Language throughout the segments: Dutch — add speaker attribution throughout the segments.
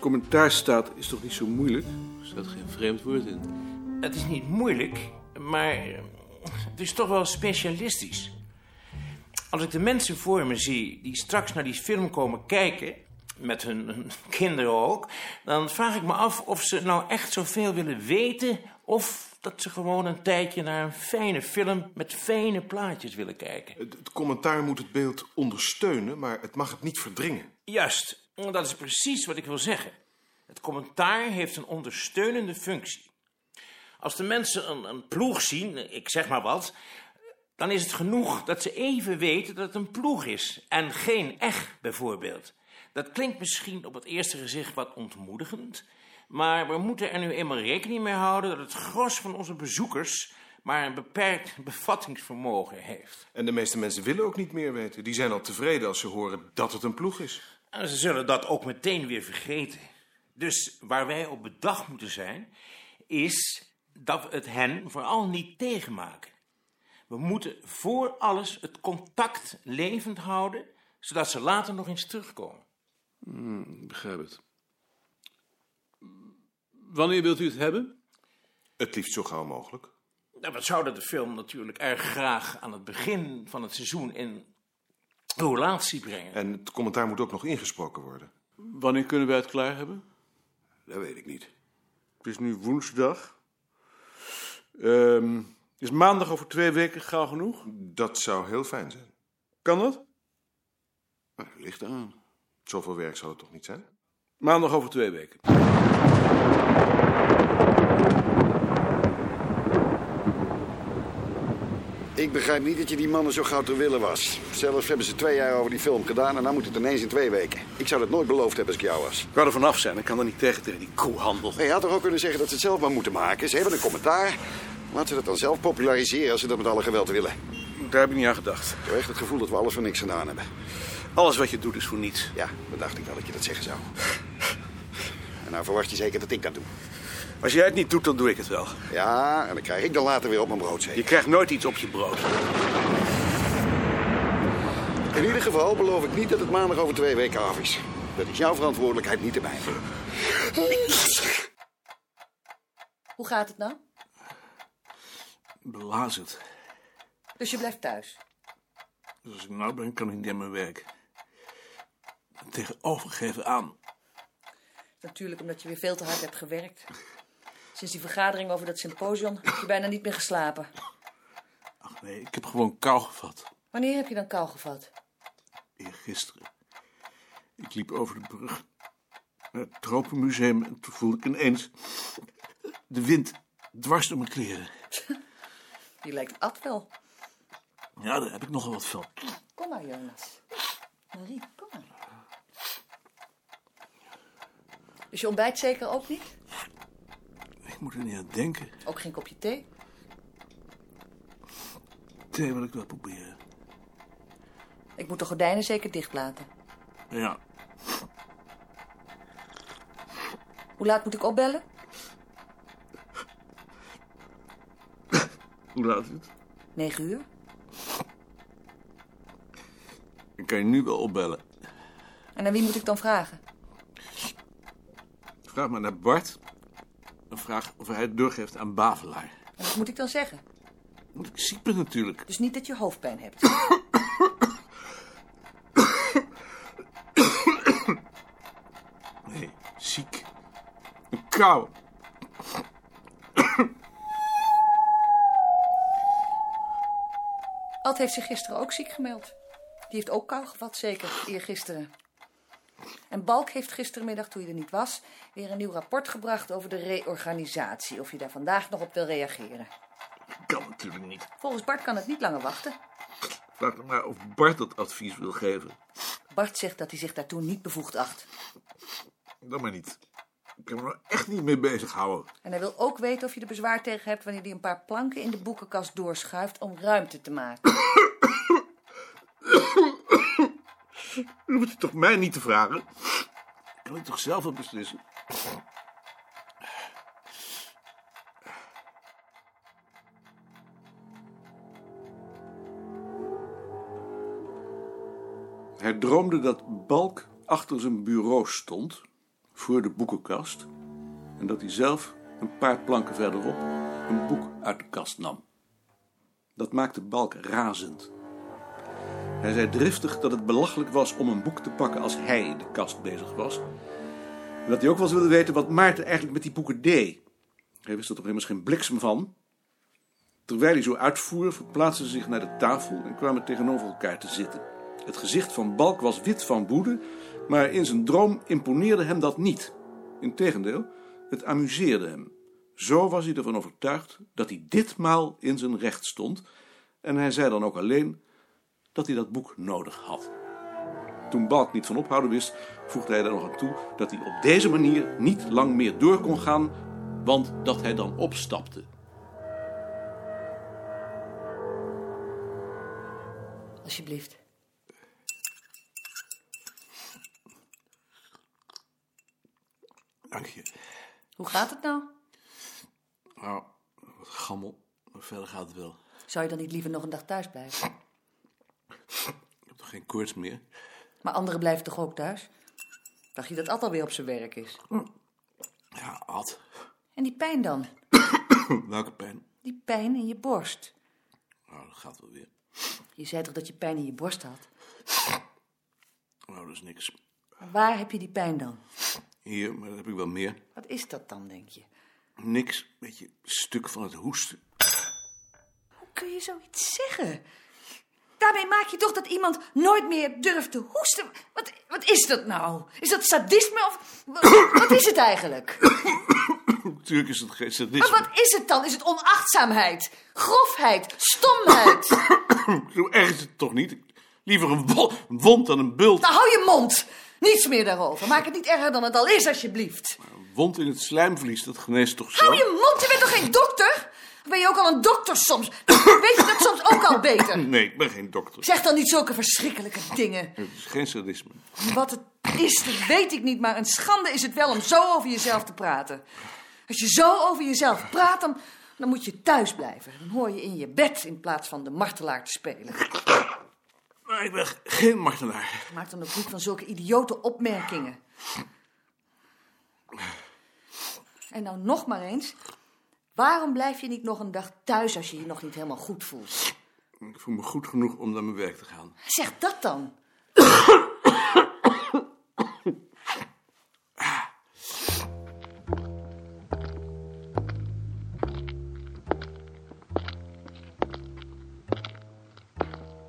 Speaker 1: commentaar staat, is toch niet zo moeilijk?
Speaker 2: Er staat geen vreemd woord in.
Speaker 3: Het is niet moeilijk, maar eh, het is toch wel specialistisch. Als ik de mensen voor me zie die straks naar die film komen kijken, met hun, hun kinderen ook, dan vraag ik me af of ze nou echt zoveel willen weten of dat ze gewoon een tijdje naar een fijne film met fijne plaatjes willen kijken.
Speaker 4: Het, het commentaar moet het beeld ondersteunen, maar het mag het niet verdringen.
Speaker 3: Juist, dat is precies wat ik wil zeggen. Het commentaar heeft een ondersteunende functie. Als de mensen een, een ploeg zien, ik zeg maar wat, dan is het genoeg dat ze even weten dat het een ploeg is en geen echt bijvoorbeeld. Dat klinkt misschien op het eerste gezicht wat ontmoedigend, maar we moeten er nu eenmaal rekening mee houden dat het gros van onze bezoekers maar een beperkt bevattingsvermogen heeft.
Speaker 4: En de meeste mensen willen ook niet meer weten. Die zijn al tevreden als ze horen dat het een ploeg is.
Speaker 3: En Nou, ze zullen dat ook meteen weer vergeten. Dus waar wij op bedacht moeten zijn, is dat we het hen vooral niet tegenmaken. We moeten voor alles het contact levend houden, zodat ze later nog eens terugkomen.
Speaker 2: Ik begrijp het. Wanneer wilt u het hebben?
Speaker 4: Het liefst zo gauw mogelijk.
Speaker 3: Nou, we zouden de film natuurlijk erg graag aan het begin van het seizoen in relatie
Speaker 1: Eh,
Speaker 3: brengen.
Speaker 4: En het commentaar moet ook nog ingesproken worden.
Speaker 2: Wanneer kunnen wij het klaar hebben?
Speaker 1: Dat weet ik niet. Het is nu woensdag. Ehm, is maandag over twee weken gauw genoeg?
Speaker 4: Dat zou heel fijn zijn.
Speaker 1: Kan dat?
Speaker 4: Dat ligt aan. Zoveel werk zal het toch niet zijn?
Speaker 1: Maandag over twee weken.
Speaker 5: Ik begrijp niet dat je die mannen zo gauw te willen was. Zelfs hebben ze twee jaar over die film gedaan en dan moet het ineens in twee weken. Ik zou dat nooit beloofd hebben als ik jou was.
Speaker 1: Ik kan er vanaf zijn, ik kan er niet tegen tegen die koehandel.
Speaker 5: Maar je had toch ook kunnen zeggen dat ze het zelf maar moeten maken? Ze hebben een commentaar. Laten ze dat dan zelf populariseren als ze dat met alle geweld willen.
Speaker 1: Daar heb ik niet aan gedacht.
Speaker 5: Ik heb echt het gevoel dat we alles voor niks gedaan hebben.
Speaker 1: Alles wat je doet is voor niets.
Speaker 5: Ja, dat dacht ik wel dat je dat zeggen zou. En nou verwacht je zeker dat ik dat doe.
Speaker 1: Als jij het niet doet, dan doe ik het wel.
Speaker 5: Ja, en dan krijg ik dan later weer op mijn brood
Speaker 1: Je
Speaker 5: zeker.
Speaker 1: krijgt nooit iets op je brood.
Speaker 5: In ieder geval beloof ik niet dat het maandag over twee weken af is. Dat is jouw verantwoordelijkheid, niet de mijne.
Speaker 6: Hoe gaat het nou?
Speaker 1: Belazerd.
Speaker 6: Dus je blijft thuis.
Speaker 1: Dus als ik nou ben, kan ik niet aan mijn werk. Tegenovergeven aan.
Speaker 6: Natuurlijk omdat je weer veel te hard hebt gewerkt. Sinds die vergadering over dat symposium heb je bijna niet meer geslapen.
Speaker 1: Ach nee, ik heb gewoon kou gevat.
Speaker 6: Wanneer heb je dan kou gevat?
Speaker 1: Eergisteren. Ik liep over de brug naar het Tropenmuseum en toen voelde ik ineens de wind dwars door mijn kleren.
Speaker 6: Je lijkt Ad wel.
Speaker 1: Ja, daar heb ik nogal wat van.
Speaker 6: Kom maar, Jonas. Marie, kom maar. Dus je ontbijt zeker ook niet?
Speaker 1: Ik moet er niet aan denken.
Speaker 6: Ook geen kopje thee?
Speaker 1: Thee wil ik wel proberen.
Speaker 6: Ik moet de gordijnen zeker dicht laten.
Speaker 1: Ja,
Speaker 6: Hoe laat moet ik opbellen?
Speaker 1: hoe laat is het?
Speaker 6: Negen uur?
Speaker 1: Ik kan je nu wel opbellen.
Speaker 6: En aan wie moet ik dan vragen?
Speaker 1: Vraag maar naar Bart. En vraag of hij het doorgeeft aan Bavelaar.
Speaker 6: En wat moet ik dan zeggen?
Speaker 1: Want ik ziek ben natuurlijk.
Speaker 6: Dus niet dat je hoofdpijn hebt.
Speaker 1: Nee, ziek. Een kou.
Speaker 6: Ad heeft zich gisteren ook ziek gemeld. Die heeft ook kou gevat, zeker, eergisteren. En Balk heeft gistermiddag, toen je er niet was, weer een nieuw rapport gebracht over de reorganisatie. Of je daar vandaag nog op wil reageren.
Speaker 1: Kan natuurlijk niet.
Speaker 6: Volgens Bart kan het niet langer wachten.
Speaker 1: Vraag dan maar of Bart dat advies wil geven.
Speaker 6: Bart zegt dat hij zich daartoe niet bevoegd acht.
Speaker 1: Dan maar niet. Ik kan me er echt niet mee bezighouden.
Speaker 6: En hij wil ook weten of je er bezwaar tegen hebt wanneer hij een paar planken in de boekenkast doorschuift om ruimte te maken.
Speaker 1: Dan moet je toch mij niet te vragen? Kan ik toch zelf wel beslissen? Hij droomde dat Balk achter zijn bureau stond, voor de boekenkast. En dat hij zelf een paar planken verderop een boek uit de kast nam. Dat maakte Balk razend. Hij zei driftig dat het belachelijk was om een boek te pakken als hij in de kast bezig was. En dat hij ook wel eens wilde weten wat Maarten eigenlijk met die boeken deed. Hij wist er toch immers geen bliksem van. Terwijl hij zo uitvoer, verplaatsten ze zich naar de tafel en kwamen tegenover elkaar te zitten. Het gezicht van Balk was wit van woede, maar in zijn droom imponeerde hem dat niet. Integendeel, het amuseerde hem. Zo was hij ervan overtuigd dat hij ditmaal in zijn recht stond. En hij zei dan ook alleen dat hij dat boek nodig had. Toen Balk niet van ophouden wist, voegde hij er nog aan toe dat hij op deze manier niet lang meer door kon gaan, want dat hij dan opstapte.
Speaker 6: Alsjeblieft.
Speaker 1: Dank je.
Speaker 6: Hoe gaat het nou?
Speaker 1: Nou, wat gammel. Verder gaat het wel.
Speaker 6: Zou je dan niet liever nog een dag thuis blijven?
Speaker 1: Ik heb toch geen koorts meer?
Speaker 6: Maar anderen blijven toch ook thuis? Dacht je dat Ad alweer op zijn werk is?
Speaker 1: Ja, Ad.
Speaker 6: En die pijn dan?
Speaker 1: Welke pijn?
Speaker 6: Die pijn in je borst.
Speaker 1: Nou, dat gaat wel weer.
Speaker 6: Je zei toch dat je pijn in je borst had?
Speaker 1: Nou, dat is niks.
Speaker 6: Waar heb je die pijn dan?
Speaker 1: Hier, maar dat heb ik wel meer.
Speaker 6: Wat is dat dan, denk je?
Speaker 1: Niks. Beetje stuk van het hoesten.
Speaker 6: Hoe kun je zoiets zeggen? Daarmee maak je toch dat iemand nooit meer durft te hoesten. Wat, wat is dat nou? Is dat sadisme of... wa- Wat is het eigenlijk?
Speaker 1: Natuurlijk is het geen
Speaker 6: Maar
Speaker 1: sadisme.
Speaker 6: wat is het dan? Is het onachtzaamheid? Grofheid? Stomheid?
Speaker 1: Zo erg is het toch niet? Liever een wo- een wond dan een bult.
Speaker 6: Nou, hou je mond! Niets meer daarover. Maak het niet erger dan het al is, alsjeblieft.
Speaker 1: Een wond in het slijmvlies, dat geneest toch zo?
Speaker 6: Hou je mond, je bent toch geen dokter? Of ben je ook al een dokter soms? Weet je dat soms ook al beter?
Speaker 1: Nee, ik ben geen dokter.
Speaker 6: Zeg dan niet zulke verschrikkelijke dingen.
Speaker 1: Het is geen sadisme.
Speaker 6: Wat het is, dat weet ik niet, maar een schande is het wel om zo over jezelf te praten. Als je zo over jezelf praat, dan, dan moet je thuis blijven. Dan hoor je in je bed in plaats van de martelaar te spelen.
Speaker 1: Maar ik ben g- geen martelaar.
Speaker 6: Maak dan ook niet van zulke idiote opmerkingen. En nou nog maar eens. Waarom blijf je niet nog een dag thuis als je je nog niet helemaal goed voelt?
Speaker 1: Ik voel me goed genoeg om naar mijn werk te gaan.
Speaker 6: Zeg dat dan.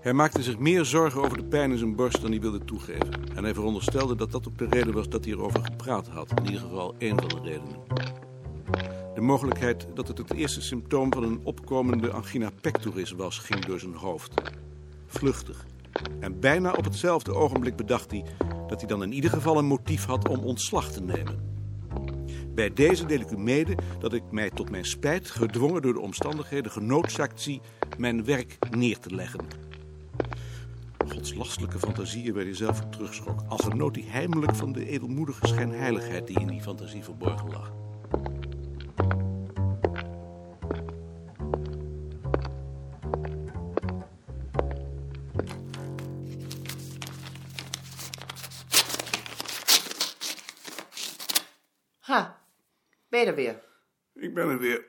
Speaker 1: Hij maakte zich meer zorgen over de pijn in zijn borst dan hij wilde toegeven. En hij veronderstelde dat dat ook de reden was dat hij erover gepraat had. In ieder geval één van de redenen. De mogelijkheid dat het het eerste symptoom van een opkomende angina pectoris was, ging door zijn hoofd. Vluchtig. En bijna op hetzelfde ogenblik bedacht hij dat hij dan in ieder geval een motief had om ontslag te nemen. Bij deze deel ik u mede dat ik mij tot mijn spijt, gedwongen door de omstandigheden, genoodzaakt zie mijn werk neer te leggen. Godslastelijke fantasieën bij jezelf terugschrok, al genoot hij heimelijk van de edelmoedige schijnheiligheid die in die fantasie verborgen lag.
Speaker 6: Ha, ben je er weer?
Speaker 1: Ik ben er weer.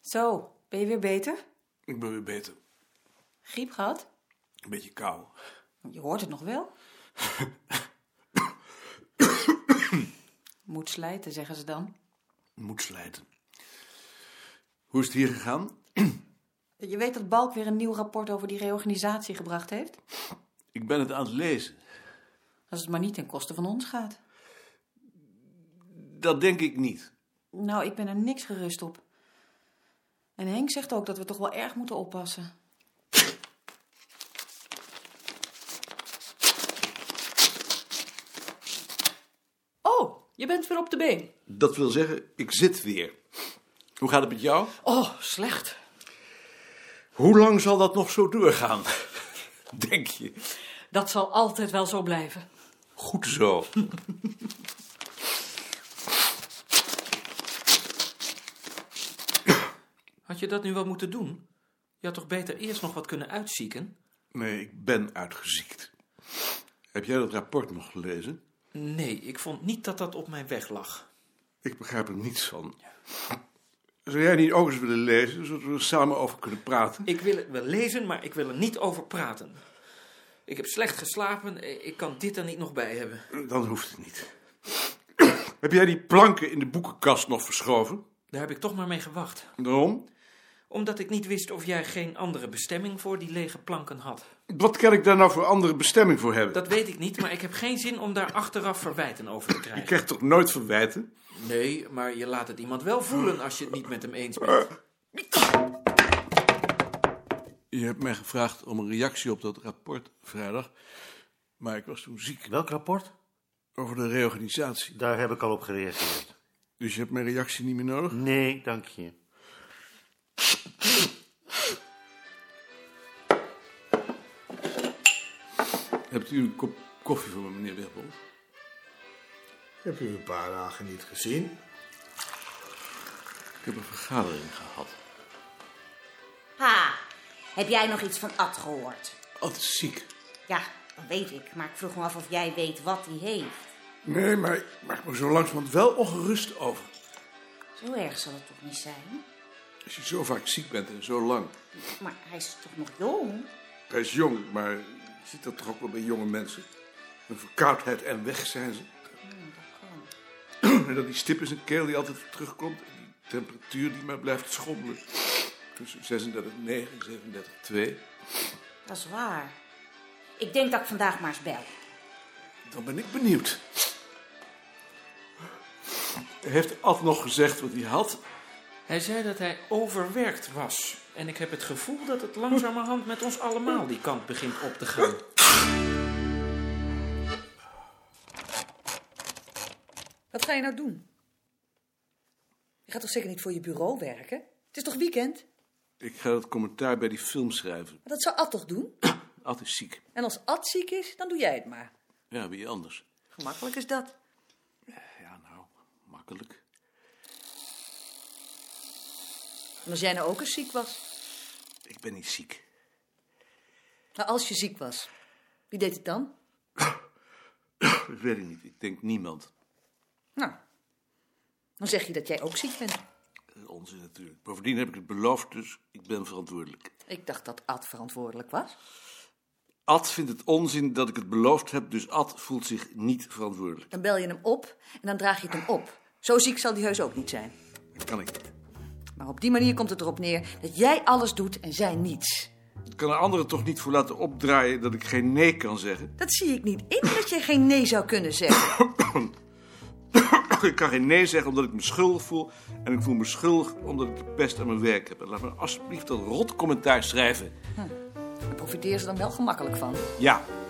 Speaker 7: Zo, ben je weer beter?
Speaker 1: Ik ben weer beter.
Speaker 7: Griep gehad?
Speaker 1: Een beetje kou.
Speaker 7: Je hoort het nog wel. Moet slijten, zeggen ze dan.
Speaker 1: Moet slijten. Hoe is het hier gegaan?
Speaker 7: Je weet dat Balk weer een nieuw rapport over die reorganisatie gebracht heeft?
Speaker 2: Ik ben het aan het lezen.
Speaker 7: Als het maar niet ten koste van ons gaat.
Speaker 2: Dat denk ik niet.
Speaker 7: Nou, ik ben er niks gerust op. En Henk zegt ook dat we toch wel erg moeten oppassen. Oh, je bent weer op de been.
Speaker 1: Dat wil zeggen, ik zit weer. Hoe gaat het met jou?
Speaker 7: Oh, slecht.
Speaker 1: Hoe lang zal dat nog zo doorgaan? Denk je?
Speaker 7: Dat zal altijd wel zo blijven.
Speaker 1: Goed zo.
Speaker 8: Had je dat nu wel moeten doen? Je had toch beter eerst nog wat kunnen uitzieken?
Speaker 1: Nee, ik ben uitgeziekt. Heb jij dat rapport nog gelezen?
Speaker 3: Nee, ik vond niet dat dat op mijn weg lag.
Speaker 1: Ik begrijp er niets van. Zou jij niet ook eens willen lezen, zodat we er samen over kunnen praten?
Speaker 3: Ik wil het wel lezen, maar ik wil er niet over praten. Ik heb slecht geslapen, eh, ik kan dit er niet nog bij hebben.
Speaker 1: Dan hoeft het niet. Heb jij die planken in de boekenkast nog verschoven?
Speaker 3: Daar heb ik toch maar mee gewacht.
Speaker 1: Daarom?
Speaker 3: Omdat ik niet wist of jij geen andere bestemming voor die lege planken had.
Speaker 1: Wat kan ik daar nou voor andere bestemming voor hebben?
Speaker 3: Dat weet ik niet, maar ik heb geen zin om daar achteraf verwijten over te
Speaker 1: Je
Speaker 3: krijgen.
Speaker 1: krijgt toch nooit verwijten?
Speaker 3: Nee, maar je laat het iemand wel voelen als je het niet met hem eens bent.
Speaker 1: Je hebt mij gevraagd om een reactie op dat rapport vrijdag. Maar ik was toen ziek
Speaker 9: Welk rapport?
Speaker 1: over de reorganisatie.
Speaker 9: Daar heb ik al op gereageerd.
Speaker 1: Dus je hebt mijn reactie niet meer nodig?
Speaker 9: Nee, dank je.
Speaker 1: Hebt u een kop koffie voor me, meneer Wirbel?
Speaker 10: Heb u een paar dagen niet gezien?
Speaker 1: Ik heb een vergadering gehad.
Speaker 11: Ha, heb jij nog iets van Ad gehoord?
Speaker 1: Altijd ziek.
Speaker 11: Ja, dat weet ik, maar ik vroeg me af of jij weet wat hij heeft.
Speaker 1: Nee, maar ik maak me zo langzamerhand wel ongerust over.
Speaker 11: Zo erg zal het toch niet zijn?
Speaker 1: Als je zo vaak ziek bent en zo lang.
Speaker 11: Maar hij is toch nog jong?
Speaker 1: Hij is jong, maar je ziet dat toch ook wel bij jonge mensen? Een verkoudheid en weg zijn ze. En dat die stip in zijn keel die altijd terugkomt. En die temperatuur die maar blijft schommelen. Tussen 36,9 en 37,2.
Speaker 11: Dat is waar. Ik denk dat ik vandaag maar eens bel.
Speaker 1: Dan ben ik benieuwd. Heeft Ad nog gezegd wat hij had?
Speaker 3: Hij zei dat hij overwerkt was. En ik heb het gevoel dat het langzamerhand met ons allemaal die kant begint op te gaan.
Speaker 6: Wat ga je nou doen? Je gaat toch zeker niet voor je bureau werken? Het is toch weekend?
Speaker 1: Ik ga dat commentaar bij die film schrijven.
Speaker 6: Maar dat zou Ad toch doen?
Speaker 1: Ad is ziek.
Speaker 6: En als Ad ziek is, dan doe jij het maar.
Speaker 1: Ja, wie anders?
Speaker 6: Gemakkelijk is dat.
Speaker 1: Ja, nou, makkelijk.
Speaker 6: En als jij nou ook eens ziek was?
Speaker 1: Ik ben niet ziek.
Speaker 6: Maar als je ziek was, wie deed het dan?
Speaker 1: Dat weet ik niet. Ik denk niemand.
Speaker 6: Nou, dan zeg je dat jij ook ziek bent.
Speaker 1: Dat is onzin natuurlijk. Bovendien heb ik het beloofd, dus ik ben verantwoordelijk.
Speaker 6: Ik dacht dat Ad verantwoordelijk was.
Speaker 1: Ad vindt het onzin dat ik het beloofd heb, dus Ad voelt zich niet verantwoordelijk.
Speaker 6: Dan bel je hem op en dan draag je het hem op. Zo ziek zal die heus ook niet zijn.
Speaker 1: Dat kan ik niet.
Speaker 6: Maar op die manier komt het erop neer dat jij alles doet en zij niets.
Speaker 1: Ik kan er anderen toch niet voor laten opdraaien dat ik geen nee kan zeggen.
Speaker 6: Dat zie ik niet in dat je geen nee zou kunnen zeggen.
Speaker 1: Ik kan geen nee zeggen omdat ik me schuldig voel. En ik voel me schuldig omdat ik de pest aan mijn werk heb. En laat me alsjeblieft dat rot commentaar schrijven.
Speaker 6: Daar profiteer ze dan wel gemakkelijk van.
Speaker 1: Ja.